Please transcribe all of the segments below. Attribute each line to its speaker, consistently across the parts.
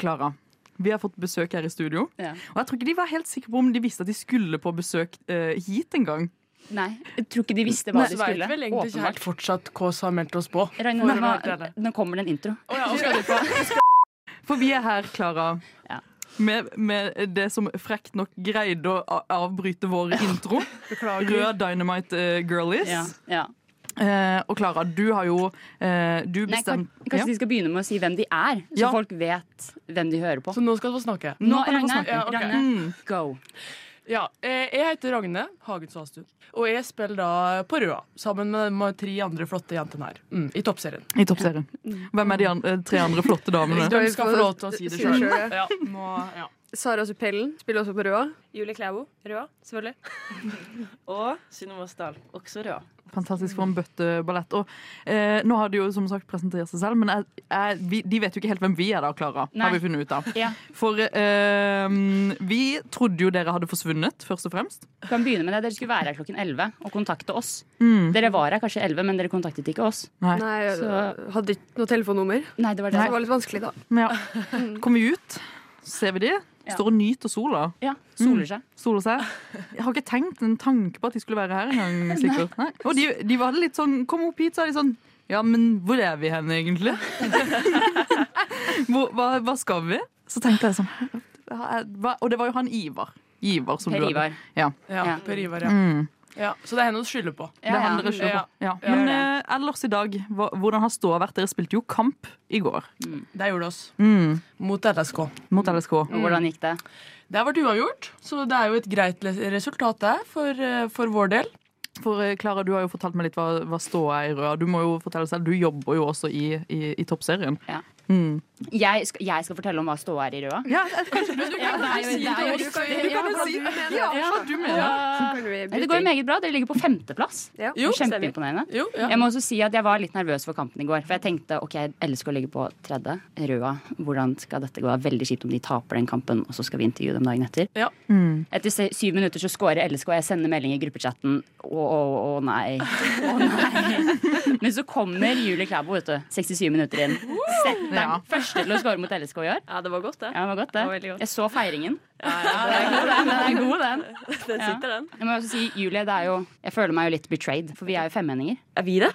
Speaker 1: Klara. Vi har fått besøk her i studio.
Speaker 2: Ja.
Speaker 1: Og jeg tror ikke de var helt sikre på om de visste at de skulle på besøk eh, hit engang.
Speaker 2: Nei, jeg tror ikke de visste hva
Speaker 3: Så
Speaker 2: de
Speaker 3: vet vi
Speaker 2: skulle.
Speaker 3: vel egentlig ikke
Speaker 2: Åpenbart.
Speaker 3: helt fortsatt hva som har meldt oss på.
Speaker 2: Ragnar,
Speaker 3: Hvor
Speaker 2: nå-
Speaker 3: rart er det?
Speaker 2: nå kommer det en intro.
Speaker 3: Å ja, skal du på?
Speaker 1: For vi er her, Klara.
Speaker 2: Ja.
Speaker 1: Med, med det som frekt nok greide å a- avbryte vår intro.
Speaker 3: Beklager.
Speaker 1: Rød Dynamite eh, Girlies.
Speaker 2: Ja, ja.
Speaker 1: Eh, og Klara, du har jo eh, Du
Speaker 2: Nei, kan-
Speaker 1: bestemt
Speaker 2: kanskje de skal begynne med å si hvem de er, så
Speaker 1: Ja.
Speaker 2: folk vet hvem de hører på.
Speaker 3: Så nå skal du få snakke.
Speaker 1: kan du
Speaker 2: Nå,
Speaker 1: få
Speaker 2: Ragnar,
Speaker 1: snakke.
Speaker 3: Ja, ok.
Speaker 2: Ragnar,
Speaker 1: Mm.
Speaker 2: go.
Speaker 3: Ja, eh, jeg heter Ragne Hagen Svastuen, og jeg spiller da på Røa sammen med, med tre andre flotte jentene her mm, i toppserien.
Speaker 1: I toppserien.
Speaker 2: Mm.
Speaker 1: Hvem er de an eh, tre andre flotte damene?
Speaker 3: De skal få lov til å si det
Speaker 4: Si det
Speaker 3: sjøl.
Speaker 4: selv,
Speaker 3: Ja, nå- ja.
Speaker 4: Sara Suppellen spiller også på Røa.
Speaker 5: Julie Klæbo, rød, selvfølgelig. og Synnøve Åsdal, også rød.
Speaker 1: Fantastisk
Speaker 2: Mm.
Speaker 1: for en bøtteballett. Og eh, nå har de jo som sagt presentert seg selv, men jeg, jeg, vi, de vet jo ikke helt hvem vi er da, Klara.
Speaker 2: Nei.
Speaker 1: Har vi funnet ut av.
Speaker 2: Ja.
Speaker 1: For eh, vi trodde jo dere hadde forsvunnet, først og fremst.
Speaker 2: Vi kan begynne med det. Dere skulle være her klokken 11 og kontakte oss.
Speaker 1: Mm.
Speaker 2: Dere var her kanskje 11, men dere kontaktet ikke oss.
Speaker 1: Nei.
Speaker 4: Nei, jeg
Speaker 2: Så-
Speaker 4: hadde ikke noe telefonnummer.
Speaker 2: Nei, det var
Speaker 4: Så
Speaker 2: det.
Speaker 4: det var litt vanskelig, da.
Speaker 1: Men ja. Kom vi ut, ser vi de.
Speaker 2: Ja.
Speaker 1: Står og nyter sola.
Speaker 2: Ja, soler seg.
Speaker 1: Soler seg. Jeg har ikke tenkt en tanke på at de skulle være her engang. sikkert. Nei. Og de, de var litt sånn Kom opp hit, sa de sånn. Ja, men hvor er vi hen, egentlig? hvor, hva, hva skal vi? Så tenkte jeg sånn «Hæ? hva, Og det var jo han Ivar. Ivar som
Speaker 2: Per
Speaker 1: du hadde.
Speaker 2: Ivar.
Speaker 3: ja
Speaker 2: Ja.
Speaker 3: Per Ivar, ja.
Speaker 1: Mm.
Speaker 3: ja. Så det er henne du skylder på.
Speaker 1: Det er han
Speaker 2: Ja,
Speaker 1: dere skylder på. Ja.
Speaker 3: Ja.
Speaker 1: Men eh, ellers i dag, hva, hvordan har ståa vært? Dere spilte jo kamp i går
Speaker 3: Det gjorde oss.
Speaker 1: mm.
Speaker 3: Mot LSK.
Speaker 1: mot LSK.
Speaker 2: ja. Og hvordan gikk det?
Speaker 3: Det har vært uavgjort, så det er jo et greit les- resultat det er for, eh, for vår del.
Speaker 1: For eh, Klara, du har jo fortalt meg litt hva, hva ståa er i Røa. Du må jo fortelle selv, du jobber jo også i, i, i toppserien.
Speaker 2: Ja.
Speaker 1: Mm.
Speaker 2: Jeg skal, jeg skal fortelle om hva ståa er i røda.
Speaker 1: Ja, jeg- kanskje du
Speaker 2: Ja, det er jo- det er jo-
Speaker 4: Du kan
Speaker 1: Du kan jo si
Speaker 4: jo si
Speaker 1: ja, hva du mener.
Speaker 2: Ja.
Speaker 4: Kan vi
Speaker 2: Nei, Det går jo
Speaker 4: bryte inn?
Speaker 2: meget bra. Dere ligger på femteplass.
Speaker 4: Ja.
Speaker 3: Jo,
Speaker 2: Kjempeimponerende.
Speaker 3: Jo, ja.
Speaker 2: Jeg må også si at jeg var litt nervøs for kampen i går. For jeg tenkte ok, LSK ligger på tredje. Røa, hvordan skal dette gå? Det er veldig kjipt om de taper den kampen, og så skal vi intervjue dem dagen etter.
Speaker 3: Ja.
Speaker 2: Etter se- syv minutter så scorer LSK, og jeg sender melding i gruppechatten. Å, å, å nei. Å nei. Men så kommer Julie Klæbo, vet du. 67 minutter inn. Setter den
Speaker 1: Ja.
Speaker 2: første til å score mot LSK i år.
Speaker 5: Ja, det var godt, det.
Speaker 2: Ja, det var godt,
Speaker 5: Det var
Speaker 2: det.
Speaker 5: veldig godt.
Speaker 2: Jeg så feiringen.
Speaker 5: Ja, ja,
Speaker 2: Den er god, den. Den er god, den.
Speaker 5: Den sitter, den.
Speaker 2: Jeg må også si, Julie, det er jo Jeg føler meg jo litt betrayed, for vi er jo femmenninger.
Speaker 5: Er vi det?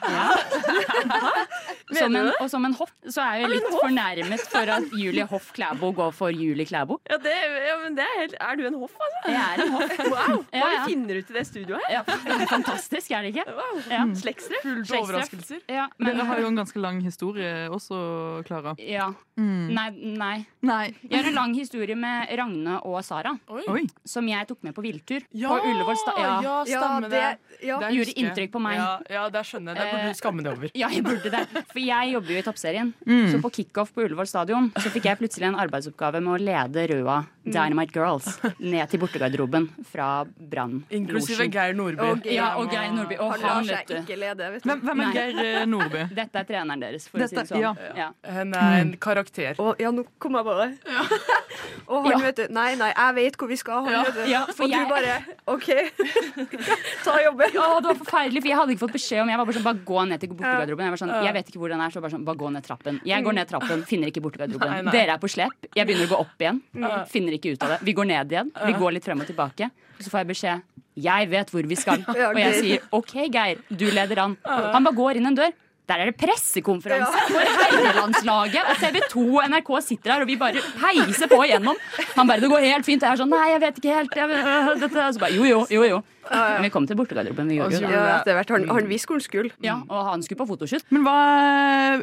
Speaker 2: Som
Speaker 5: Mener
Speaker 2: en,
Speaker 5: du det?
Speaker 2: og som en hoff, så er jeg jo litt fornærmet for at Julie Hoff Klæbo går for Julie Klæbo.
Speaker 5: Ja, det, ja men det er helt Er du en hoff, altså?
Speaker 2: Jeg er en hoff.
Speaker 5: Wow! Hva
Speaker 2: Ja, ja.
Speaker 5: vi finner ut i det studioet her?
Speaker 2: Ja, det er fantastisk, er det ikke?
Speaker 5: Wow.
Speaker 2: Ja.
Speaker 5: Slektstreff.
Speaker 3: Fullt av
Speaker 2: Slektstreff.
Speaker 3: overraskelser.
Speaker 2: Ja, men
Speaker 1: Dere har jo en ganske lang historie også, Klara.
Speaker 2: ja. Nei, nei.
Speaker 1: Nei.
Speaker 2: Jeg har en lang historie med Ragne og Sara,
Speaker 1: Oi.
Speaker 2: som jeg tok med på villtur på Ullevål sta
Speaker 3: ja,
Speaker 2: ja.
Speaker 4: Ja,
Speaker 3: stemmer det.
Speaker 4: det ja.
Speaker 2: Gjorde
Speaker 3: Det husker jeg.
Speaker 2: inntrykk på meg.
Speaker 3: Ja, ja det skjønner jeg. Det burde du skamme deg over.
Speaker 2: Ja, jeg burde det. For jeg jobber jo i Toppserien.
Speaker 1: Mm.
Speaker 2: Så på kickoff på Ullevål stadion så fikk jeg plutselig en arbeidsoppgave med å lede Røa Dynamite
Speaker 1: Mm.
Speaker 2: Girls ned til bortegarderoben fra Brann.
Speaker 3: Inklusive
Speaker 2: Losjen.
Speaker 3: Geir Nordby.
Speaker 4: Og Geir.
Speaker 2: Ja, og Geir Nordby. Og
Speaker 4: Han lar
Speaker 2: han,
Speaker 4: seg
Speaker 2: vet du.
Speaker 4: ikke lede, vet du.
Speaker 1: Hvem, hvem
Speaker 2: Nei.
Speaker 1: er Geir eh, Nordby?
Speaker 2: Dette er treneren deres, for å
Speaker 1: Dette-
Speaker 2: si det sånn.
Speaker 1: ja.
Speaker 2: Ja.
Speaker 3: Han er en karakter.
Speaker 4: Å, ja, nå kom jeg på det. Og han,
Speaker 2: Ja.
Speaker 4: vet du Nei, nei, jeg vet hvor vi skal. Han,
Speaker 2: Ja,
Speaker 4: vet du.
Speaker 2: ja, for
Speaker 4: og
Speaker 2: jeg-
Speaker 4: du bare OK, ta jobben.
Speaker 2: Å, det var forferdelig, for jeg hadde ikke fått beskjed om Jeg var bare sånn, bare gå ned til bortegarderoben. Jeg var sånn, jeg vet ikke hvor den er, så bare sånn, bare gå ned trappen. Jeg går ned trappen, finner ikke
Speaker 3: Nei,
Speaker 2: bortegarderoben.
Speaker 3: nei.
Speaker 2: Dere er på slep. Jeg begynner å gå opp igjen. Finner ikke ut av det. Vi går ned igjen. Vi går litt frem og tilbake. Og så får jeg beskjed jeg vet hvor vi skal.
Speaker 4: Ja,
Speaker 2: Og jeg
Speaker 4: Geir.
Speaker 2: sier OK, Geir, du leder an. Han bare går inn en dør. Der er det pressekonferanse for herrelandslaget, og TV 2 og NRK sitter her, og vi bare peiser på igjennom. Han bare 'Det går helt fint.' Jeg er sånn 'Nei, jeg vet ikke helt.' Jeg, øh, dette. er-» Så bare 'Jo, jo, jo, jo'. Men vi kom til bortegarderoben. Vi gjorde jo det.
Speaker 4: Ja, etter hvert. Han, han visste hvor han skulle.
Speaker 2: Ja, og han skulle på fotoshoot.
Speaker 1: Men hva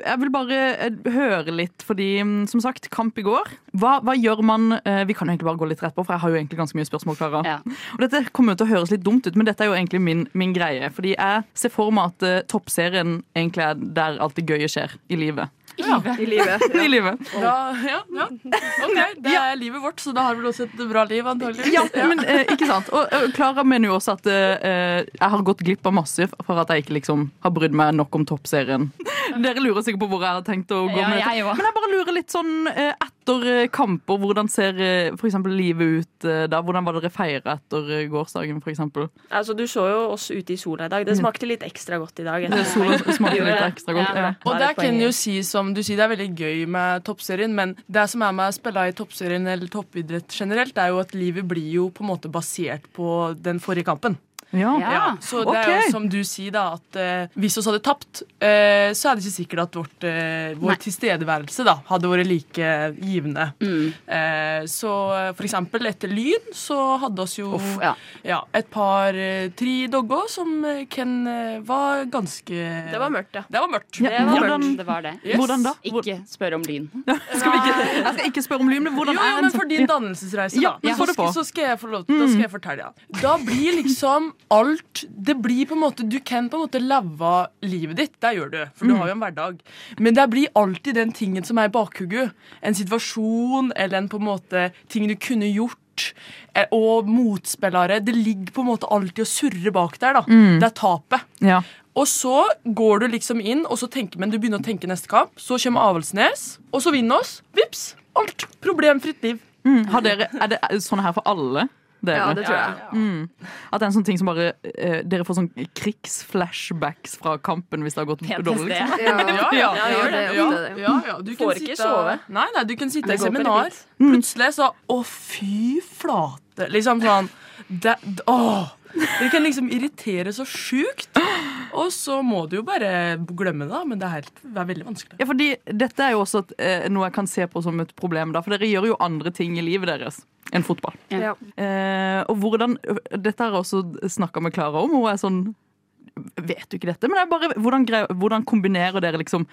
Speaker 1: Jeg vil bare eh, høre litt, fordi mm, som sagt, kamp i går. Hva, hva gjør man eh, Vi kan jo egentlig bare gå litt rett på, for jeg har jo egentlig ganske mye spørsmål, Klara.
Speaker 2: Ja.
Speaker 1: Og dette kommer jo til å høres litt dumt ut, men dette er jo egentlig min, min greie. Fordi jeg ser for meg at eh, toppserien egentlig er der alt det gøye skjer i livet.
Speaker 4: I livet.
Speaker 1: I livet.
Speaker 3: Da, ja, ja. OK, det er livet vårt, så da har vi også et bra liv, antageligvis.
Speaker 1: Ja, men eh, ikke sant. Og eh, Klara mener jo også at eh, jeg har gått glipp av masse for at jeg ikke liksom har brydd meg nok om toppserien. Dere lurer sikkert på hvor jeg har tenkt å gå
Speaker 2: Ja,
Speaker 1: med dette.
Speaker 2: jeg òg.
Speaker 1: Men jeg bare lurer litt sånn eh, etter eh, kamper, hvordan ser eh, for eksempel livet ut eh, da? Hvordan var dere feira etter eh, gårsdagen, for eksempel?
Speaker 5: Altså, du så jo oss ute i sola i dag. Det smakte litt ekstra godt i dag.
Speaker 1: Det sola smakte
Speaker 5: Gjorde
Speaker 1: litt
Speaker 5: det?
Speaker 1: ekstra godt. Ja.
Speaker 3: Og
Speaker 5: Da er
Speaker 3: der
Speaker 5: det
Speaker 3: kan
Speaker 5: poenget.
Speaker 3: jo si som du sier, det er veldig gøy med toppserien, men det som er med å spille i toppserien eller toppidrett generelt, er jo at livet blir jo på en måte basert på den forrige kampen.
Speaker 1: Ja.
Speaker 2: Ja.
Speaker 3: Så det er
Speaker 1: ok.
Speaker 3: jo som du sier, da, at eh, hvis vi hadde tapt, eh, så er det ikke sikkert at vårt, eh,
Speaker 2: Nei.
Speaker 3: vår tilstedeværelse da, hadde vært like givende. Eh, så eh, for eksempel etter Lyn så hadde oss jo
Speaker 2: Uff, ja.
Speaker 3: ja, et par, eh, tre dogger som eh, kan eh, var ganske
Speaker 5: Det var mørkt, ja.
Speaker 3: Det var mørkt.
Speaker 1: Ja,
Speaker 5: Det var
Speaker 1: hvordan,
Speaker 2: Det var det.
Speaker 3: Yes.
Speaker 1: hvordan da? Hvor,
Speaker 2: Ikke spør om lyn.
Speaker 1: skal vi ikke, jeg skal ikke spørre om lyn, men hvordan
Speaker 3: jo, jo,
Speaker 1: er en
Speaker 3: men
Speaker 1: sånn
Speaker 3: for din dannelsesreise,
Speaker 1: Ja,
Speaker 3: da.
Speaker 1: men
Speaker 3: så,
Speaker 1: få det på. Mm.
Speaker 3: skal, så skal jeg få lov til Da skal jeg fortelle, ja. Da blir liksom alt Det blir på en måte Du kan på en måte leve livet ditt. Det gjør du, for
Speaker 1: Mm.
Speaker 3: du har jo en hverdag. Men det blir alltid den tingen som er i bakhugget. En situasjon eller en på en måte ting du kunne gjort. eh, Og motspillere. Det ligger på en måte alltid og surrer bak der. da
Speaker 1: Mm.
Speaker 3: Det er tapet.
Speaker 1: Ja.
Speaker 3: Og så går du liksom inn, og så tenker, men du begynner å tenke neste kamp. Så kommer Avaldsnes, og så vinner oss. Vips! Alt. Problemfritt liv.
Speaker 1: Mm, har dere, er det er det sånn her for alle? Dere?
Speaker 4: Ja, det tror jeg.
Speaker 1: At det er en sånn ting som bare eh, Dere får sånn krigsflashbacks fra kampen hvis det har gått dårlig.
Speaker 2: PTSD.
Speaker 1: liksom.
Speaker 4: Ja.
Speaker 3: ja,
Speaker 4: Ja, gjør det,
Speaker 3: ja,
Speaker 4: gjør det.
Speaker 3: ja, ja. Du kan
Speaker 5: Får ikke
Speaker 3: sitte,
Speaker 5: sove.
Speaker 3: Nei, nei, du kan sitte
Speaker 5: Det
Speaker 3: i
Speaker 5: går på
Speaker 3: seminar.
Speaker 5: repeat.
Speaker 3: Plutselig så Å, fy flate. Liksom sånn det, d- Åh! Det kan liksom irritere så sjukt. Og så må du jo bare glemme det, da, men det er, helt, det er veldig vanskelig.
Speaker 1: Ja, fordi dette er jo også et, eh, noe jeg kan se på som et problem, da, for dere gjør jo andre ting i livet deres enn fotball.
Speaker 4: Ja.
Speaker 1: Eh, og hvordan, Dette har jeg også snakka med Klara om. Hun er sånn Vet du ikke dette? Men det er bare, hvordan, grei- hvordan kombinerer dere liksom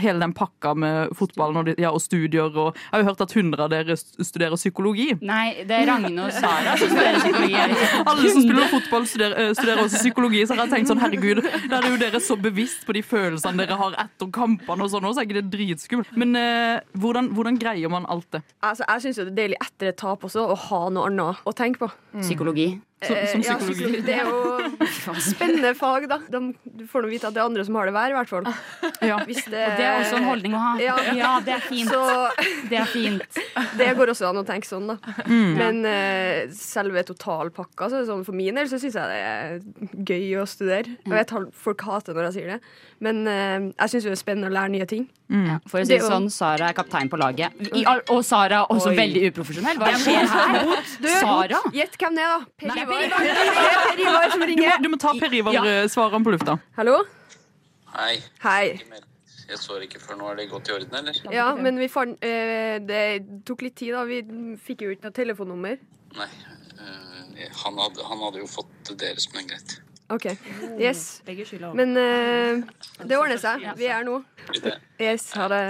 Speaker 1: hele den pakka med fotballen og, de- ja, og studier? Og, jeg har jo hørt at 100 av dere st- studerer psykologi.
Speaker 2: Nei, det er Ragne og Sara som studerer psykologi. her.
Speaker 1: Alle som spiller fotball, studerer, eh, studerer også psykologi. Så jeg har tenkt sånn, herregud, Da er jo dere så bevisst på de følelsene dere har etter kampene, og sånn også, er ikke det dritskummelt? Men eh, hvordan, hvordan greier man alt det?
Speaker 4: Altså, jeg syns det er deilig etter et tap også å ha noe annet å tenke på.
Speaker 2: Mm. Psykologi.
Speaker 1: Som,
Speaker 4: Eh,
Speaker 1: som
Speaker 4: ja,
Speaker 1: psykologi?
Speaker 4: psykologi. det er jo spennende fag, da. De, du får nå vite at det er andre som har det verre, i hvert fall.
Speaker 1: Ja.
Speaker 4: Hvis det,
Speaker 2: Og det er også en holdning å ha.
Speaker 4: Ja.
Speaker 2: Ja, det er fint.
Speaker 4: Så
Speaker 2: Det er fint.
Speaker 4: det går også an å tenke sånn, da. Men eh, selve totalpakka, så er det sånn, for min del så syns jeg det er gøy å studere. Jeg vet hal- folk hater når jeg sier det, men eh, jeg syns det er spennende å lære nye ting.
Speaker 2: Ja, for å si
Speaker 4: Det
Speaker 2: det
Speaker 4: er jo-
Speaker 2: sånn, Sara er kaptein på laget. I, all- og Sara er også
Speaker 5: Oi.
Speaker 2: veldig uprofesjonell. Hva skjer her? Sara?
Speaker 4: Gjett hvem det er, da. Per
Speaker 2: Nei,
Speaker 4: Ivar. Det er Per Ivar som
Speaker 1: Du, må,
Speaker 4: ringer.
Speaker 1: du må ta Per Ivar eh, svarene på lufta.
Speaker 4: Hallo?
Speaker 6: Hei.
Speaker 4: Hei.
Speaker 6: Jeg sår ikke før nå. Er det godt i orden, eller?
Speaker 4: Ja, men vi fant eh, Det tok litt tid, da. Vi fikk jo ikke noe telefonnummer.
Speaker 6: Nei. eh, han, hadde, han hadde jo fått deres, men greit.
Speaker 4: OK. Yes.
Speaker 5: Begge skylder over.
Speaker 4: Men eh, det ordner seg. Vi er her nå.
Speaker 6: Blir det-
Speaker 4: Yes, ha det.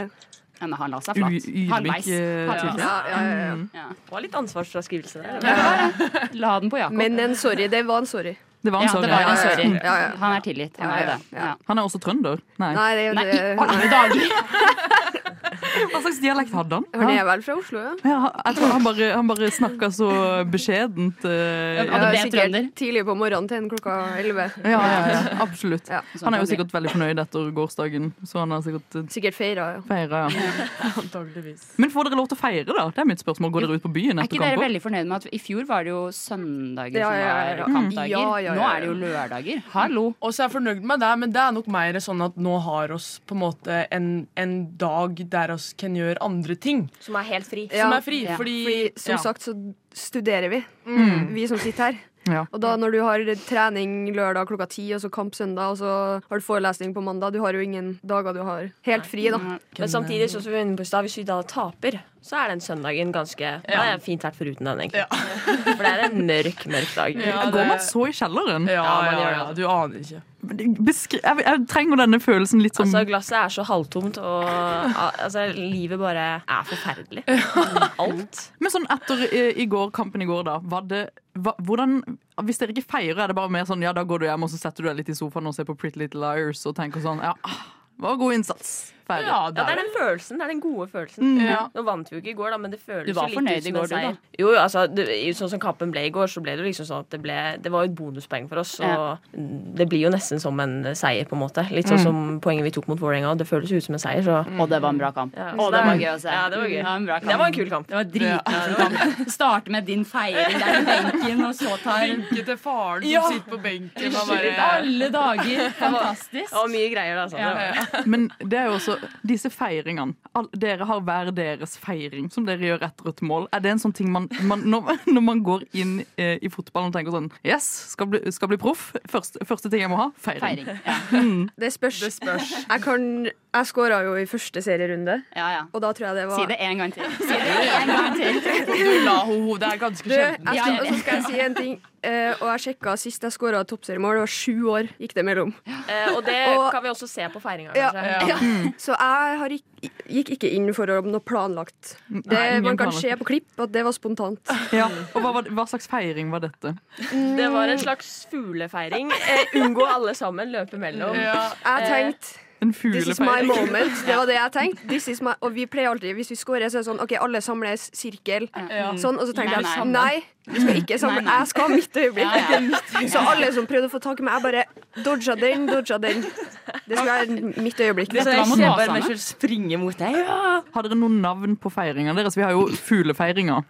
Speaker 2: Ja, men han la seg
Speaker 1: U-
Speaker 2: flatt.
Speaker 1: Ydmyk
Speaker 2: Halvveis.
Speaker 1: eh,
Speaker 2: Halvveis.
Speaker 1: type.
Speaker 4: Ja, ja, ja, ja.
Speaker 2: Ja.
Speaker 5: Det var litt ansvarsfraskrivelse der.
Speaker 2: La den på Jakob.
Speaker 4: Men en sorry. Det var en sorry.
Speaker 1: Det var en
Speaker 2: ja, det
Speaker 1: sorry.
Speaker 2: var en
Speaker 4: Ja, ja,
Speaker 2: sorry.
Speaker 4: ja, ja, ja.
Speaker 2: Han er tilgitt. Han
Speaker 4: Ja,
Speaker 2: er
Speaker 4: ja,
Speaker 2: det. Ja.
Speaker 1: Han er også trønder? Nei.
Speaker 4: Nei, det,
Speaker 2: Nei, i
Speaker 4: det,
Speaker 2: alle dager!
Speaker 1: Hva slags dialekt hadde han?
Speaker 4: han er vel fra Oslo, ja?
Speaker 1: Ja, jeg tror han bare, han bare snakka så beskjedent. eh,
Speaker 2: Ja, det ble
Speaker 4: sikkert
Speaker 2: trønder.
Speaker 4: Tidlig på morgenen til en klokka elleve.
Speaker 1: Ja, ja, ja, absolutt.
Speaker 4: Ja.
Speaker 1: Han er jo sikkert veldig fornøyd etter gårsdagen, så han har sikkert eh,
Speaker 4: Sikkert feira, ja.
Speaker 1: feira. Ja.
Speaker 3: Antageligvis.
Speaker 1: Men får dere lov til å feire, da? Det er mitt spørsmål. Går dere ut på byen
Speaker 2: Er
Speaker 1: etter
Speaker 2: ikke dere
Speaker 1: kamper?
Speaker 2: veldig fornøyd med at i fjor var det jo søndager
Speaker 4: Ja, ja, ja, ja.
Speaker 2: som var kampdager?
Speaker 4: Ja, ja, ja,
Speaker 2: Nå
Speaker 4: ja.
Speaker 2: er det jo lørdager. Hallo!
Speaker 3: Og så er jeg fornøyd med det, men det er nok mer sånn at nå har oss på en måte en, en dag der oss kan gjøre andre ting
Speaker 5: Som er helt fri.
Speaker 4: Ja.
Speaker 3: som er fri.
Speaker 2: Ja.
Speaker 3: Fordi,
Speaker 4: Fordi som
Speaker 3: ja.
Speaker 4: sagt så studerer vi, vi som sitter her.
Speaker 1: Ja.
Speaker 4: Og da når du har trening lørdag klokka ti, og så kamp søndag, og så har du forelesning på mandag Du har jo ingen dager du har helt fri, da.
Speaker 2: Mm.
Speaker 5: Men samtidig, sånn som vi var inne på i stad, hvis vi da taper, så er den søndagen ganske Da er jeg fint vært foruten den, egentlig. For det er en mørk, mørk dag.
Speaker 3: Ja,
Speaker 1: Går man
Speaker 3: det-
Speaker 1: så i kjelleren?
Speaker 3: ja,
Speaker 5: Ja, man
Speaker 3: ja,
Speaker 5: gjør det,
Speaker 3: ja,
Speaker 5: altså.
Speaker 3: du aner ikke.
Speaker 1: Beskri jeg, jeg trenger denne følelsen litt som
Speaker 5: Altså, glasset er så halvtomt, og altså, livet bare er forferdelig. Alt.
Speaker 1: Men sånn etter eh, i går, kampen i går, da. Var det, hva, hvordan, hvis dere ikke feirer, er det bare mer sånn ja, da går du hjem og så setter du deg litt i sofaen og ser på Pretty Little Liars og tenker sånn ja, ah, det var god innsats. Ferdig.
Speaker 3: Ja,
Speaker 5: Ja,
Speaker 3: det er
Speaker 5: det er
Speaker 3: det.
Speaker 5: den følelsen. Det er den gode følelsen.
Speaker 2: Mm.
Speaker 3: Ja.
Speaker 5: Nå vant vi jo ikke i går, da, men det føles
Speaker 2: Du var
Speaker 5: jo
Speaker 2: fornøyd
Speaker 5: litt ut
Speaker 2: i
Speaker 5: som
Speaker 2: går,
Speaker 5: en
Speaker 2: du, da?
Speaker 5: seier. Jo, jo, altså, det, sånn som kampen ble i går, så ble det jo liksom sånn at det ble Det var jo et bonuspoeng for oss, og
Speaker 2: Ja.
Speaker 5: det blir jo nesten som en seier, på en måte. Litt
Speaker 2: Mm.
Speaker 5: sånn som poenget vi tok mot Vålerenga. Det føles jo ut som en seier, så
Speaker 2: Og det var en bra kamp.
Speaker 5: Ja.
Speaker 2: Og det var gøy å se.
Speaker 5: Ja, det var gøy.
Speaker 2: en bra kamp.
Speaker 5: Det var en kul kamp.
Speaker 2: Det var dritkul kamp. Starte med din feiring der i benken, og så tar
Speaker 3: Ikke til faren som
Speaker 2: Ja.
Speaker 3: sitter på benken og bare
Speaker 2: Alle dager. Fantastisk.
Speaker 5: Det var mye greier, da. Altså.
Speaker 2: Ja.
Speaker 5: Det var-
Speaker 1: Men det er jo også disse feiringene. All, dere har hver deres feiring som dere gjør etter et mål. Er det en sånn ting man, man når, når man går inn eh, i fotballen og tenker sånn Yes, skal bli, skal bli proff. Første, første ting jeg må ha feiring.
Speaker 2: Feiring. Ja,
Speaker 4: Det spørs.
Speaker 3: Det spørs.
Speaker 4: Jeg, kan, jeg skåra jo i første serierunde,
Speaker 2: ja. ja.
Speaker 4: og da tror jeg det var
Speaker 2: Si det en gang til. Si det en gang til.
Speaker 3: Du la ho-ho. Det er ganske
Speaker 4: Du, jeg
Speaker 3: sjelden.
Speaker 4: skal,
Speaker 2: Ja, ja.
Speaker 4: og så skal jeg si en ting. eh, og jeg sjekka sist jeg skåra toppseriemål, det var sju år gikk det mellom.
Speaker 5: Eh, og det
Speaker 4: Og-
Speaker 5: kan vi også se på feiringa,
Speaker 4: Ja.
Speaker 5: kanskje.
Speaker 3: Ja.
Speaker 2: Mm.
Speaker 4: Så jeg har ikk, gikk ikke inn for å- noe planlagt.
Speaker 1: Mm. Nei,
Speaker 4: Det,
Speaker 1: ingen
Speaker 4: man kan
Speaker 1: planlagt.
Speaker 4: se på klipp at det var spontant.
Speaker 1: Ja. Og hva, var- hva slags feiring var dette?
Speaker 5: Det var en slags fuglefeiring. Eh, unngå alle sammen, løpe mellom.
Speaker 3: Ja.
Speaker 2: Eh,
Speaker 4: Jeg tenkte
Speaker 1: En
Speaker 4: This is my
Speaker 1: fuglefeiring?
Speaker 4: moment. Det var det jeg tenkte. This is my, og vi pleier alltid, hvis vi scorer, så er det sånn OK, alle samles, sirkel. Sånn, og så
Speaker 2: Nei, nei.
Speaker 4: tenkte jeg nei, vi skal ikke
Speaker 2: Nei,
Speaker 4: sammen.
Speaker 2: nei.
Speaker 4: Jeg skal ha mitt øyeblikk.
Speaker 2: Ja, ja.
Speaker 4: Så alle som prøvde å få tak i meg, jeg bare dodga den, dodga den. Det skal være mitt øyeblikk.
Speaker 2: Det var mot Åsane.
Speaker 5: springe mot deg.
Speaker 1: Har dere noen navn på feiringene deres? Vi har jo fuglefeiringer.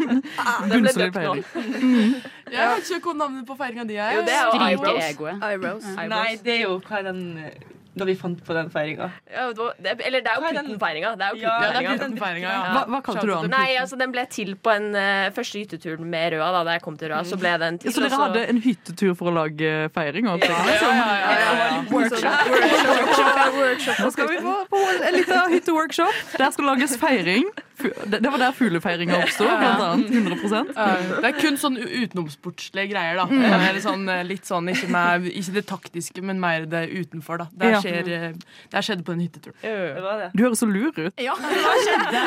Speaker 1: Bunnsolid feiring.
Speaker 3: Jeg vet ikke hva navnet på feiringa di er.
Speaker 5: Jo, det er jo
Speaker 2: Stryke
Speaker 5: eyebrows.
Speaker 2: egoet.
Speaker 4: Eyebrows.
Speaker 7: Nei, det er jo hva er den eh, Da vi fant på den feiringa.
Speaker 5: Ja, det var- det, eller det er jo
Speaker 7: Hva er den?
Speaker 5: puttenfeiringa. Det er jo
Speaker 3: Ja,
Speaker 7: Ja,
Speaker 3: det er
Speaker 5: puttenfeiringa.
Speaker 3: uten feiringa,
Speaker 1: Hva,
Speaker 3: ja.
Speaker 1: hva kalte du den?
Speaker 5: Nei, altså den ble til på en eh, første hytteturen med Røa. Da da jeg kom til Røa, så ble den til.
Speaker 1: Så dere
Speaker 5: og
Speaker 1: hadde en hyttetur for å lage feiring? Og sånn? ja.
Speaker 3: Ja, ja, ja, ja, ja.
Speaker 4: Workshop. Workshop. workshop.
Speaker 1: Nå skal vi på, på en liten hytteworkshop. Der skal lages feiring. Fu- Det, det var der fuglefeiringa oppsto, blant annet. 100
Speaker 3: Det er kun sånn u- utenomsportslige greier, da. Eller sånn, eh, litt sånn ikke, med, ikke det taktiske, men mer det utenfor, da. Det
Speaker 1: Ja.
Speaker 3: her skjer, eh, det her skjedde på den hytteturen.
Speaker 7: Det var det.
Speaker 1: Du høres så lur ut.
Speaker 2: Ja.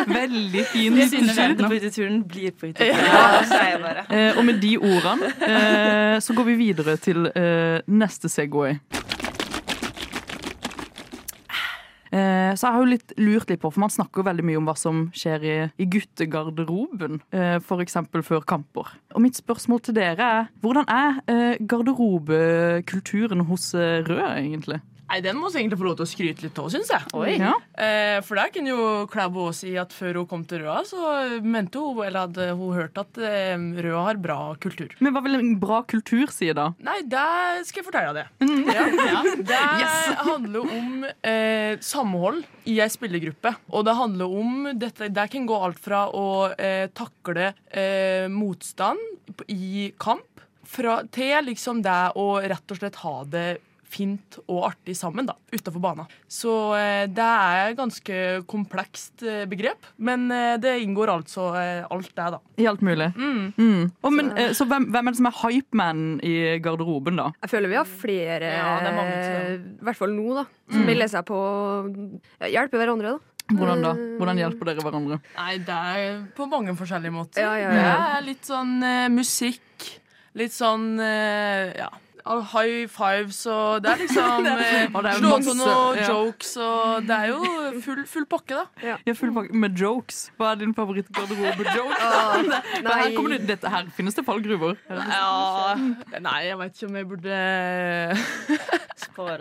Speaker 1: Veldig fin
Speaker 7: Skjønner
Speaker 1: hyttetur.
Speaker 7: på hytteturen, blir på hytteturen. Ja, så er jeg bare.
Speaker 1: Eh, og med de ordene eh, så går vi videre til eh, neste Segway. Eh, så jeg har jo litt lurt litt på, for Man snakker jo veldig mye om hva som skjer i, i guttegarderoben, eh, f.eks. før kamper. Og Mitt spørsmål til dere er hvordan er eh, garderobekulturen hos eh, Rød, egentlig?
Speaker 3: Nei, den må vi egentlig få lov til å skryte litt av, syns jeg.
Speaker 2: Oi.
Speaker 1: Ja.
Speaker 3: Eh, for der kunne jo Klæbo også si at før hun kom til Røa, så mente hun, eller hadde hun hørt at eh, Røa har bra kultur.
Speaker 1: Men hva vil en bra kultur si, da?
Speaker 3: Nei, det skal jeg fortelle deg. det. Det handler om eh, samhold i ei spillergruppe. Og det handler om dette Det kan gå alt fra å eh, takle eh, motstand p- i kamp fra, til liksom det å rett og slett ha det fint og artig sammen, da, utafor banen. Så eh, det er et ganske komplekst eh, begrep, men eh, det inngår altså eh, alt det, da.
Speaker 1: I alt mulig. Mm. Og, men, eh, så hvem, hvem er det som er hypemanen i garderoben, da?
Speaker 4: Jeg føler vi har flere,
Speaker 3: Ja, det er mange
Speaker 4: eh,
Speaker 3: som-
Speaker 4: i hvert fall nå, da, som melder seg på ja, hjelpe hverandre. da.
Speaker 1: Hvordan da? Hvordan hjelper dere hverandre?
Speaker 3: Nei, det er på mange forskjellige måter.
Speaker 4: Ja, ja, ja.
Speaker 3: Det er litt sånn eh, musikk, litt sånn eh, ja. all High fives og Det er liksom eh,
Speaker 1: Og det er
Speaker 3: Slå
Speaker 1: masse,
Speaker 3: på noen
Speaker 1: ja.
Speaker 3: jokes og Det er jo full, full pakke, da.
Speaker 1: Jeg er full pakke med jokes. Hva er din favorittgarderobe-joke? Her kommer
Speaker 4: Nei,
Speaker 1: det, dette her finnes det fallgruver.
Speaker 3: Ja. Nei, jeg veit ikke om jeg burde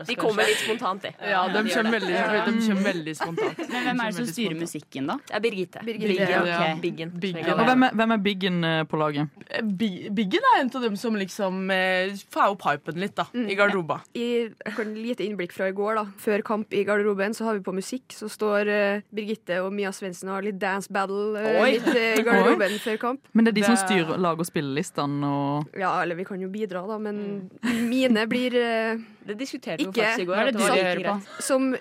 Speaker 5: De kommer litt spontant, de.
Speaker 3: Ja, de
Speaker 5: gjør
Speaker 3: kommer veldig,
Speaker 5: det.
Speaker 3: de kommer veldig spontant.
Speaker 2: Men hvem er det som
Speaker 3: Veldig
Speaker 2: styrer
Speaker 3: spontant.
Speaker 2: musikken, da?
Speaker 5: Det er Birgitte.
Speaker 4: Birgitte.
Speaker 5: Biggen.
Speaker 3: Ja.
Speaker 5: Biggen.
Speaker 3: Biggen.
Speaker 1: Og hvem er, hvem er biggen eh, på laget?
Speaker 3: Eh, Bi- Biggen er en av dem som liksom eh, får opp hypen litt, da, i garderoba.
Speaker 4: I jeg kan lite innblikk fra i går, da. Før kamp i garderoben så har vi på musikk. Så står eh, Birgitte og Mia Svendsen og har litt dance battle eh,
Speaker 3: Oi.
Speaker 4: litt eh, i garderoben før kamp.
Speaker 1: Men det er de som
Speaker 3: Det-
Speaker 1: styrer lag- og spillelistene og
Speaker 4: Ja, eller vi kan jo bidra, da, men mine blir eh,
Speaker 5: Det diskuterte vi
Speaker 4: Ikke-
Speaker 5: faktisk i går.
Speaker 2: Hva er
Speaker 5: at
Speaker 2: det du
Speaker 5: var
Speaker 2: hører
Speaker 5: ikke
Speaker 2: på?
Speaker 5: greit.
Speaker 4: Som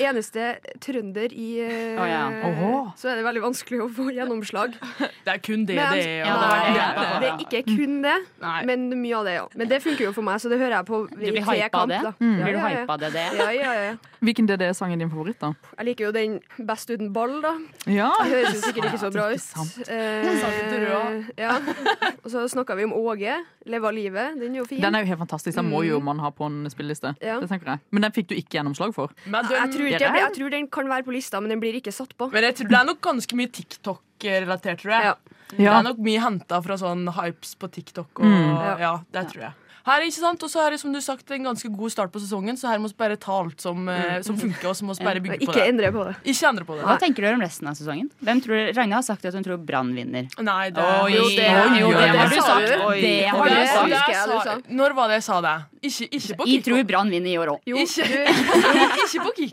Speaker 4: eneste trønder i eh,
Speaker 2: Å, ja.
Speaker 1: Åhå.
Speaker 4: Så er det veldig vanskelig å få gjennomslag.
Speaker 3: Det er kun det
Speaker 4: Men-
Speaker 3: det er.
Speaker 4: Ja,
Speaker 3: og
Speaker 4: det,
Speaker 2: er
Speaker 4: er,
Speaker 2: det.
Speaker 4: det er ikke kun det,
Speaker 3: Nei.
Speaker 4: men mye av det, ja. Men det funker jo for meg, så det hører jeg på
Speaker 2: Du blir hypa av det? Blir du hypa av det? det?
Speaker 4: Ja, ja, ja.
Speaker 1: Hvilken DDE-sang er din favoritt, da?
Speaker 4: Jeg liker jo den best uten ball, da.
Speaker 1: Ja,
Speaker 4: Det høres jo sikkert ikke så bra
Speaker 1: Ikke sant.
Speaker 4: ut. Eh, ja. Og så snakka vi om Åge. Leve av livet. Den er jo fin.
Speaker 1: Den er jo helt fantastisk. Den må jo man ha på en spilleliste.
Speaker 4: Ja.
Speaker 1: Det tenker jeg. Men den fikk du ikke gjennomslag for.
Speaker 3: Men de,
Speaker 4: Jeg tror, det
Speaker 1: Dere?
Speaker 4: blir, jeg tror den kan være på lista, men den blir ikke satt på.
Speaker 3: Men jeg tror det er nok ganske mye TikTok-relatert, tror jeg.
Speaker 4: Ja.
Speaker 3: Det
Speaker 1: Ja.
Speaker 3: er nok mye henta fra sånn hypes på TikTok. Og,
Speaker 1: Mm.
Speaker 3: ja, det tror jeg. Her, ikke sant? Og så er det som du sagt en ganske god start på sesongen, så her må vi bare ta alt som,
Speaker 2: Mm.
Speaker 3: eh, som funker, og så må vi bare bygge på
Speaker 4: Ikke
Speaker 3: det.
Speaker 4: endre på det.
Speaker 3: Ikke endre på
Speaker 2: Hva tenker
Speaker 3: det.
Speaker 2: dere om resten av sesongen? Hvem tror dere, Ragnhild har sagt at hun tror Brann vinner.
Speaker 3: Nei, det
Speaker 2: Oi,
Speaker 3: Jo,
Speaker 2: det har du sagt. Det har du
Speaker 4: Oi. Det
Speaker 2: sagt.
Speaker 4: husker jeg du sa.
Speaker 3: Når var det jeg sa det? Ikke, ikke på
Speaker 2: Jeg tror
Speaker 3: kickoff.
Speaker 2: Brann vinner i år òg.
Speaker 4: Jo,
Speaker 3: Ikke-
Speaker 4: du,
Speaker 3: Ikke på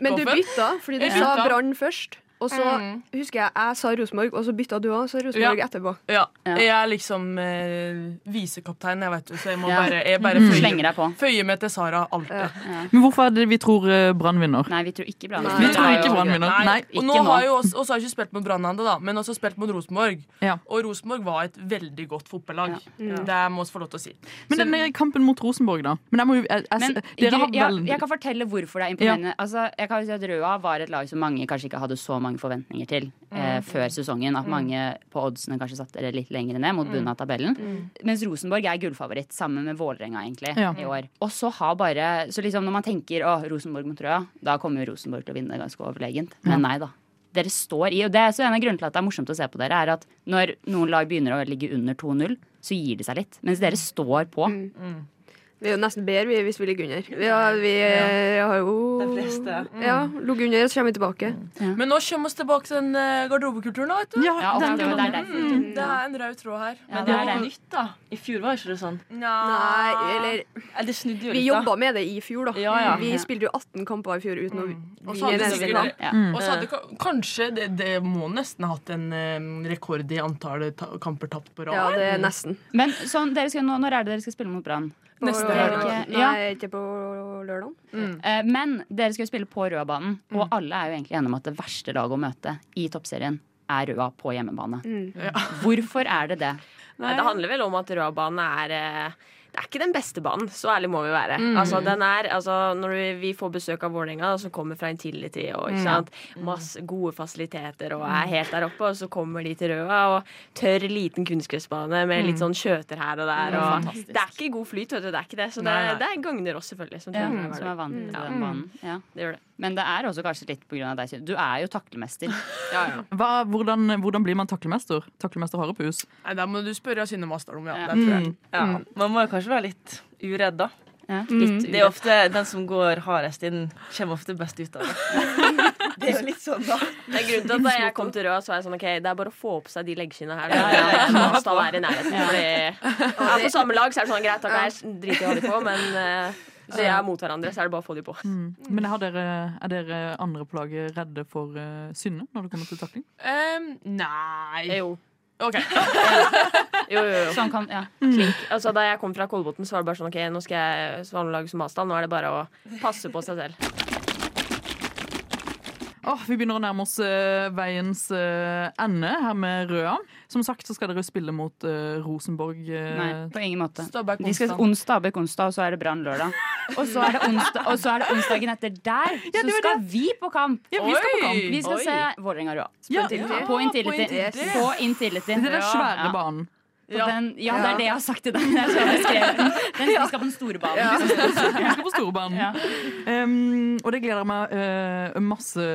Speaker 4: men du
Speaker 3: kickoffen.
Speaker 4: bytta, fordi du
Speaker 3: Jeg
Speaker 4: sa
Speaker 3: bytta.
Speaker 4: Brann først. Og så
Speaker 3: Mm.
Speaker 4: husker jeg jeg sa Rosenborg, og så bytta du òg, så Rosenborg etterpå.
Speaker 3: Ja.
Speaker 2: Ja.
Speaker 3: Jeg er liksom eh, visekaptein, jeg vet jo, så jeg må
Speaker 2: Ja. Mm.
Speaker 3: bare, jeg bare føyer,
Speaker 2: Slenger deg på.
Speaker 3: føyer meg til Sara alltid.
Speaker 1: Men hvorfor er det vi tror eh, Brann vinner?
Speaker 2: Nei, vi tror ikke Brann
Speaker 1: Vi
Speaker 4: Nei.
Speaker 1: tror
Speaker 2: vinner.
Speaker 1: ikke Brann vinner. Nei.
Speaker 3: Og
Speaker 2: Ikke
Speaker 3: nå
Speaker 2: nå.
Speaker 3: har jo også, også har jeg ikke spilt mot Brannhandel, da, men også spilt mot Rosenborg.
Speaker 1: Ja.
Speaker 3: Og Rosenborg var et veldig godt fotballag.
Speaker 4: Mm.
Speaker 3: Det må vi få lov til å si.
Speaker 1: Men denne kampen mot Rosenborg, da? Men jeg må jo jeg, jeg,
Speaker 2: Men
Speaker 1: Altså, Dere har
Speaker 2: Gry- ja,
Speaker 1: vel
Speaker 2: jeg kan fortelle hvorfor det er imponerende. Altså, jeg kan jo si at Røa var et lag som mange kanskje ikke hadde så mange forventninger til
Speaker 1: Mm.
Speaker 2: eh, før sesongen. At mange på oddsene kanskje satte det litt lenger ned,
Speaker 1: Mm.
Speaker 2: mot bunnen av tabellen. Mens Rosenborg er gullfavoritt, sammen med Vålerenga egentlig,
Speaker 1: Ja.
Speaker 2: i år. Og så har bare Så liksom når man tenker å, Rosenborg mot Røa, da kommer jo Rosenborg til å vinne ganske overlegent. Men nei da. Dere står i, og det er så en av grunnene til at det er morsomt å se på dere, er at når noen lag begynner å ligge under 2-0, så gir de seg litt. Mens dere
Speaker 1: Mm.
Speaker 2: står på.
Speaker 4: Vi er jo nesten bedre vi, hvis vi ligger under. Vi har, vi, eh, har jo
Speaker 7: De fleste.
Speaker 4: Ja, ligget under, så kommer vi tilbake.
Speaker 3: Men nå kommer vi tilbake til den eh, garderobekulturen. da, Vet du?
Speaker 1: Ja,
Speaker 2: Ja, og
Speaker 1: den,
Speaker 2: det var det er derfor.
Speaker 3: Mm, det er en rød tråd her.
Speaker 2: Ja,
Speaker 7: Det
Speaker 2: det er
Speaker 7: var
Speaker 2: det.
Speaker 7: nytt, da. I fjor var ikke det sånn.
Speaker 4: Nei,
Speaker 3: Ah,
Speaker 4: eller
Speaker 7: Eller, det snudde jo
Speaker 4: Vi
Speaker 7: litt, da.
Speaker 4: jobba med det i fjor, da.
Speaker 7: Ja, ja.
Speaker 4: Vi spilte jo 18 kamper i fjor uten å
Speaker 3: Og så
Speaker 4: vinne en
Speaker 3: hadde
Speaker 4: eneste
Speaker 3: sikkert-
Speaker 4: kamp.
Speaker 2: Ja.
Speaker 1: Mm.
Speaker 3: og så hadde ka- kanskje det, det må nesten ha hatt en eh, rekord i antall ta kamper tapt på rad.
Speaker 4: Ja, det er nesten.
Speaker 2: Men sånn, dere skal, nå, når er det dere skal spille mot Brann?
Speaker 4: På,
Speaker 3: Nesten.
Speaker 2: Det er ikke-
Speaker 4: nei, ikke på lørdag.
Speaker 2: Eh, men dere skal jo spille på Røabanen, og alle er jo egentlig enige om at det verste laget å møte i Toppserien er Røa på hjemmebane. Hvorfor er det det?
Speaker 7: Nei.
Speaker 5: Det handler vel om at Røa-banen er eh, Det er ikke den beste banen, så ærlig må vi være. Altså, den er, altså, når vi, vi får besøk av Vålerenga, da, som kommer fra Intility og ikke sant? masse gode fasiliteter og er helt der oppe, og så kommer de til Røa og tørr, liten kunstgressbane med litt sånn skjøter her og der. Og
Speaker 2: Fantastisk.
Speaker 5: det er ikke god flyt, vet du. Det er ikke det. Så det,
Speaker 3: Nei, nei.
Speaker 5: det gagner oss selvfølgelig. Som
Speaker 2: Ja,
Speaker 5: trenere å være
Speaker 2: som er
Speaker 5: der.
Speaker 2: vant til den banen. Ja.
Speaker 5: det gjør det.
Speaker 2: Men det er også kanskje litt pga. deg. Synne. Du er jo taklemester.
Speaker 1: Hva, hvordan, hvordan blir man taklemester? Taklemester Harepus?
Speaker 3: Nei, Da må du spørre Synne Masterdom. Ja,
Speaker 2: Ja.
Speaker 3: det tror jeg.
Speaker 1: Mm.
Speaker 7: Ja, Mm. man må jo kanskje være litt uredd, da.
Speaker 2: Ja.
Speaker 7: Det er ofte den som går hardest inn, kommer ofte best ut av det. Det er jo litt sånn, da.
Speaker 5: Det er grunnen til at da jeg kom til Røa, så var jeg sånn OK, det er bare å få på seg de leggskinnene her. Ja, ja, ja. Mastad er i nærheten. Fordi, ja, på samme lag så er det sånn greit, da kan jeg drite i å ha de på, men eh, så jeg er mot hverandre, så er det bare å få de på.
Speaker 1: Men har dere, er dere andre på laget redde for eh, Synne når det kommer til takling?
Speaker 3: Ehm, nei
Speaker 5: Jo.
Speaker 3: OK.
Speaker 5: Jo, jo, jo.
Speaker 2: Sånn kan, ja.
Speaker 5: Altså, da jeg kom fra Kolbotn, så var det bare sånn OK, nå skal jeg svane lag som Mastad. Nå er det bare å passe på seg selv.
Speaker 1: Åh, vi begynner å nærme oss eh, veiens eh, ende her med Røa. Som sagt så skal dere spille mot eh, Rosenborg. eh,
Speaker 2: Nei, på ingen måte.
Speaker 3: Stabæk
Speaker 2: De skal
Speaker 3: onsdag.
Speaker 2: onsdag, Stabæk onsdag, og så er det Brann lørdag. Og så er det, onsdag, og så er det onsdagen etter der,
Speaker 1: Ja, det
Speaker 2: så
Speaker 1: var
Speaker 2: skal vi på kamp.
Speaker 1: Ja, vi skal på kamp.
Speaker 2: Vi skal
Speaker 5: Oi.
Speaker 2: se Vålerenga Røa.
Speaker 1: Ja,
Speaker 4: På Intility.
Speaker 1: ja,
Speaker 2: På
Speaker 3: på
Speaker 2: Intility.
Speaker 3: Intility.
Speaker 2: På Intility.
Speaker 1: Det er den svære
Speaker 2: Ja.
Speaker 1: banen.
Speaker 2: Ja. Den, ja, det er det jeg har sagt til deg. Det er sånn jeg skrev den. Den vi skal på den store banen. liksom.
Speaker 1: Vi skal på Storbanen.
Speaker 2: Ja.
Speaker 1: Um, og det gleder jeg meg eh, masse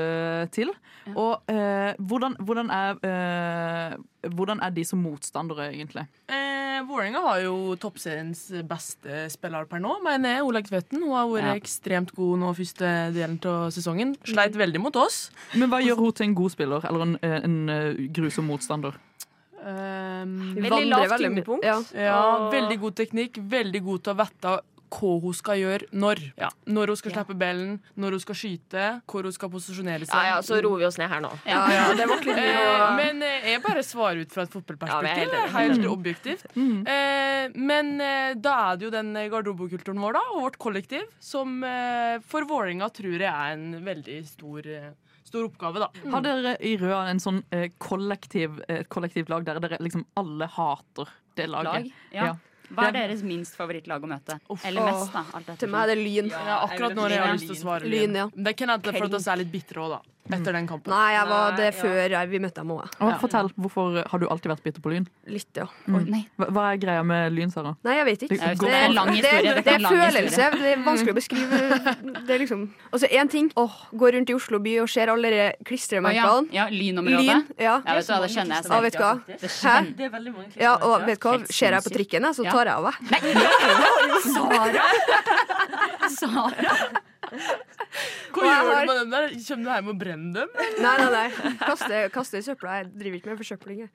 Speaker 1: til. Og eh, hvordan, hvordan, er, eh, hvordan er de som motstandere, egentlig?
Speaker 3: Eh, Vålerenga har jo toppseriens beste spiller per nå, mener jeg. Ola Tvedten. Hun har vært
Speaker 2: Ja.
Speaker 3: ekstremt god nå første delen av sesongen. Sleit veldig mot oss.
Speaker 1: Men hva gjør hun til en god spiller, eller en, en eh, grusom motstander?
Speaker 3: Ehm,
Speaker 5: Veldig
Speaker 4: Vandrer
Speaker 5: lavt
Speaker 4: veldig mye.
Speaker 5: tyngdepunkt.
Speaker 4: Ja.
Speaker 3: ja,
Speaker 5: Og-
Speaker 3: veldig god teknikk. Veldig god til å vite hva hun skal gjøre når. Ja. Når hun skal slippe ballen, når hun skal skyte, hvor hun skal posisjonere seg.
Speaker 5: Ja, ja, så roer vi oss ned her nå.
Speaker 4: Ja, ja, det var litt mye.
Speaker 3: Eh,
Speaker 4: å-
Speaker 3: men eh, jeg bare svarer ut fra et
Speaker 5: Ja,
Speaker 3: fotballperspektiv.
Speaker 5: men jeg er helt
Speaker 3: helt, objektivt. Eh, men eh, da er det jo den garderobekulturen vår da, og vårt kollektiv som eh, for Vålerenga tror jeg er en veldig stor, eh, stor oppgave, da.
Speaker 1: Har dere i Røa en sånn eh, kollektiv, eh, et kollektivt lag der dere liksom alle hater det laget?
Speaker 2: Lag. Ja. Hva er deres minst favorittlag å møte? Eller mest, da. Alt
Speaker 4: Til
Speaker 2: etter.
Speaker 4: meg er det lyn.
Speaker 3: Det er akkurat når jeg har lyst til å svare
Speaker 4: Lyn, ja.
Speaker 3: Men Det kan hende det er for at vi er litt bitre òg, da. etter den kampen?
Speaker 4: Nei, jeg var det
Speaker 7: Nei, ja.
Speaker 4: før jeg- vi møtte dem òg.
Speaker 1: Å, Fortell, hvorfor har du alltid vært bitter på lyn?
Speaker 4: Litt, ja.
Speaker 2: Oi, Mm. nei.
Speaker 1: Hva, hva er greia med lyn, Sara?
Speaker 4: Nei, jeg vet ikke.
Speaker 1: Det er
Speaker 4: Det
Speaker 1: en
Speaker 4: er,
Speaker 2: lang
Speaker 4: det,
Speaker 2: historie,
Speaker 4: er,
Speaker 2: det
Speaker 4: det
Speaker 2: er
Speaker 4: er
Speaker 2: en lang
Speaker 4: følelse.
Speaker 2: historie.
Speaker 4: Det er vanskelig å beskrive. Det er liksom Og så én ting. Åh, Gå rundt i Oslo by og ser alle de
Speaker 2: Å, ja.
Speaker 4: klistremerkene.
Speaker 2: ja,
Speaker 4: Lyn.
Speaker 2: lynområdet.
Speaker 4: Ja.
Speaker 2: Ja, vet du hva, det skjønner jeg
Speaker 4: Ja,
Speaker 2: selv.
Speaker 4: vet du hva?
Speaker 7: Det
Speaker 4: Hæ?
Speaker 7: Det er veldig mange klistremerker.
Speaker 4: Ja, og vet du hva?
Speaker 2: Helt
Speaker 4: Ser jeg på
Speaker 2: sinnssykt.
Speaker 4: trikken, jeg, så
Speaker 2: Ja.
Speaker 4: tar jeg av meg.
Speaker 2: Nei, jo, Sara! Sara.
Speaker 3: Hva
Speaker 4: Og jeg
Speaker 3: gjør
Speaker 4: har-
Speaker 3: du med dem der? Kommer du hjem og brenner dem?
Speaker 4: Nei, nei, nei. Kaster, kaster i søpla. Jeg driver ikke med forsøpling. jeg.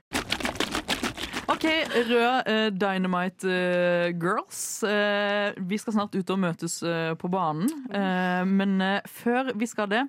Speaker 1: OK, rød eh, Dynamite eh, Girls. Eh, vi skal snart ut og møtes eh, på banen. Eh, men eh, før vi skal det,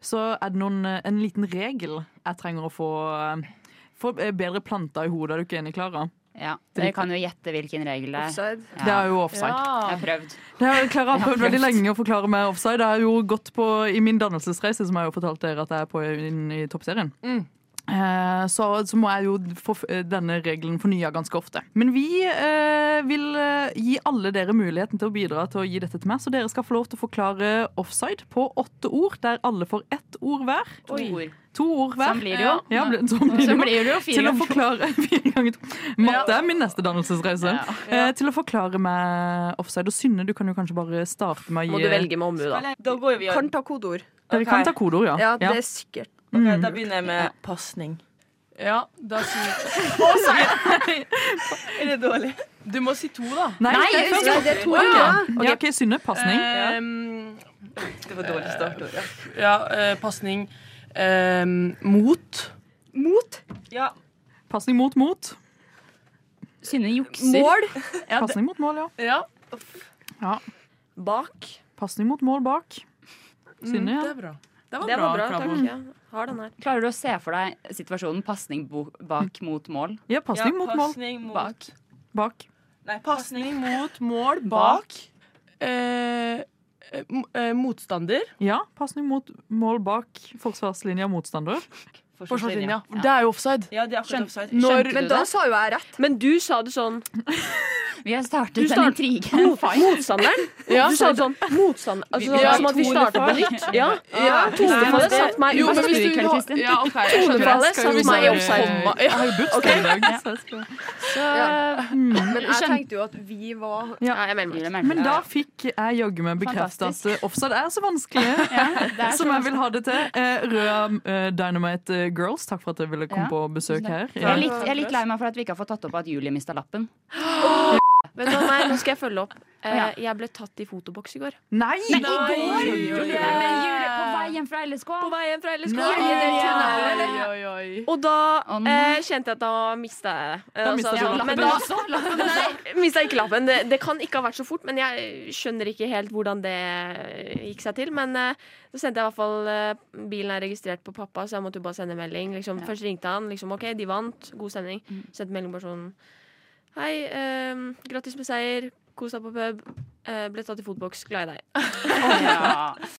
Speaker 1: så er det noen, eh, en liten regel jeg trenger å få, eh, få eh, bedre planta i hodet. Er du ikke enig, Klara?
Speaker 2: Ja, Dere kan jo gjette hvilken regel det er.
Speaker 4: Offside.
Speaker 1: Det
Speaker 2: Ja,
Speaker 1: er jo offside.
Speaker 2: jeg har prøvd.
Speaker 1: Det har Klara har
Speaker 2: Jeg har
Speaker 1: prøvd veldig
Speaker 2: prøvd.
Speaker 1: lenge å forklare meg offside. Det har jo gått på, I min dannelsesreise, som jeg jo fortalte dere at jeg er på inn i toppserien,
Speaker 2: Mm.
Speaker 1: eh, så, så må jeg jo få f- eh, denne regelen fornya ganske ofte. Men vi eh, vil eh, gi alle dere muligheten til å bidra til å gi dette til meg, så dere skal få lov til å forklare offside på åtte ord, der alle får ett ord hver.
Speaker 2: To ord.
Speaker 1: To ord hver.
Speaker 2: Sånn blir det jo.
Speaker 1: Ja, ble- sånn blir
Speaker 2: Så
Speaker 1: det jo
Speaker 2: blir det jo
Speaker 1: til
Speaker 2: fire
Speaker 1: å forklare fire ganger to. Matte er min neste dannelsesreise.
Speaker 2: Ja.
Speaker 1: Eh, til å forklare meg offside. Og Synne, du kan jo kanskje bare starte med å
Speaker 5: Må
Speaker 1: gi
Speaker 5: du velge med omhu, da.
Speaker 7: Eller, Da går vi
Speaker 4: Kan ta kodeord.
Speaker 1: Dere kan ta kodeord, ja.
Speaker 4: Ja,
Speaker 1: Ja. Mm.
Speaker 4: det er sikkert.
Speaker 7: Ok, Da begynner jeg med pasning.
Speaker 3: Ja, da sier
Speaker 7: Er det dårlig?
Speaker 3: Du må si to, da.
Speaker 1: Nei,
Speaker 2: Nei,
Speaker 1: det er først.
Speaker 4: Nei, det er to
Speaker 1: Ja.
Speaker 4: andre.
Speaker 1: Ja, OK, Synne. Pasning.
Speaker 3: Ehm,
Speaker 7: Det var
Speaker 2: Eh,
Speaker 7: dårlig start. Ja.
Speaker 3: ja, eh, pasning. Ehm, mot.
Speaker 4: Mot.
Speaker 7: ja.
Speaker 1: Pasning mot mot.
Speaker 2: Synne jukser.
Speaker 4: Mål.
Speaker 2: Ja, det-
Speaker 1: Pasning mot mål, ja.
Speaker 3: Ja,
Speaker 5: Bak.
Speaker 1: Pasning mot mål bak. Synne,
Speaker 3: Mm, det
Speaker 1: ja.
Speaker 3: er bra. Det var
Speaker 5: Det
Speaker 3: bra.
Speaker 5: var bra. Takk.
Speaker 3: Klara.
Speaker 5: Ja, har den her.
Speaker 2: Klarer du å se for deg situasjonen pasning bo- bak mot mål?
Speaker 1: Ja, pasning mot mål
Speaker 7: pasning mot
Speaker 2: Bak.
Speaker 1: bak.
Speaker 7: Nei, pasning
Speaker 3: Pasning mot mål bak. Eh, eh, m- eh, motstander.
Speaker 1: Ja, pasning mot mål bak forsvarslinja motstander.
Speaker 3: Forsvarslinja.
Speaker 2: Ja.
Speaker 3: Det er jo offside.
Speaker 7: Ja, det er akkurat offside.
Speaker 2: Skjønte
Speaker 4: Men
Speaker 2: du
Speaker 4: da
Speaker 2: det?
Speaker 4: sa jo jeg rett.
Speaker 5: Men du sa det sånn
Speaker 2: Vi har
Speaker 5: Du
Speaker 2: startet en
Speaker 5: start-
Speaker 2: intrige.
Speaker 5: mot, Motstanderen?
Speaker 3: Ja.
Speaker 5: Du sa det sånn motstander altså,
Speaker 3: Vi- ja,
Speaker 5: Som at vi starter på
Speaker 2: tonefall.
Speaker 5: nytt. Ja, ja. Tonefallet satte meg i
Speaker 3: Jo, men
Speaker 5: offside.
Speaker 3: hvis
Speaker 2: spiller
Speaker 3: du
Speaker 2: i kveld,
Speaker 3: har-
Speaker 2: Kristin.
Speaker 3: Ja, ok, jeg skjønner.
Speaker 5: Tonefallet
Speaker 1: Skal vi
Speaker 5: satte meg i
Speaker 1: bare-
Speaker 5: offside.
Speaker 3: Komma- ja.
Speaker 4: Ja. Men jeg
Speaker 2: Skjønte-
Speaker 4: tenkte jo at vi var
Speaker 5: Ja, jeg melder meg.
Speaker 1: Men da fikk jeg jaggu meg bekreftet at eh, offside er så vanskelig. Som jeg vil ha det til. Eh, Røa eh, Dynamite eh, Girls, takk for at dere ville komme
Speaker 2: Ja.
Speaker 1: på besøk her.
Speaker 2: Jeg er,
Speaker 1: Ja.
Speaker 2: litt, jeg er litt lei meg for at vi ikke har fått tatt opp at Julie mista lappen.
Speaker 5: Vet du hva, nei, nå skal jeg følge opp. Eh,
Speaker 2: Ja.
Speaker 5: Jeg ble tatt i fotoboks i går.
Speaker 1: Nei!
Speaker 3: Nei, Julie.
Speaker 2: på vei hjem fra LSK.
Speaker 5: På vei hjem fra LSK.
Speaker 1: Nei.
Speaker 5: i den tunnelen.
Speaker 3: Oi, oi, oi.
Speaker 5: Og da
Speaker 2: Å,
Speaker 5: eh,
Speaker 2: nei.
Speaker 5: kjente jeg at da mista jeg det. Eh,
Speaker 1: Da mistet du lappen
Speaker 5: men da Nei, mistet jeg ikke lappen. Det, det kan ikke ha vært så fort, men jeg skjønner ikke helt hvordan det gikk seg til. Men eh, så sendte jeg i hvert fall eh, Bilen er registrert på pappa, så jeg måtte jo bare sende melding. Liksom, Først ringte han. liksom, OK, de vant. God stemning.
Speaker 1: Mm.
Speaker 5: Sendte melding bare sånn Hei, eh, grattis med seier. Kos deg på pub. Eh, ble tatt i fotboks. Glad i deg.
Speaker 2: Ja.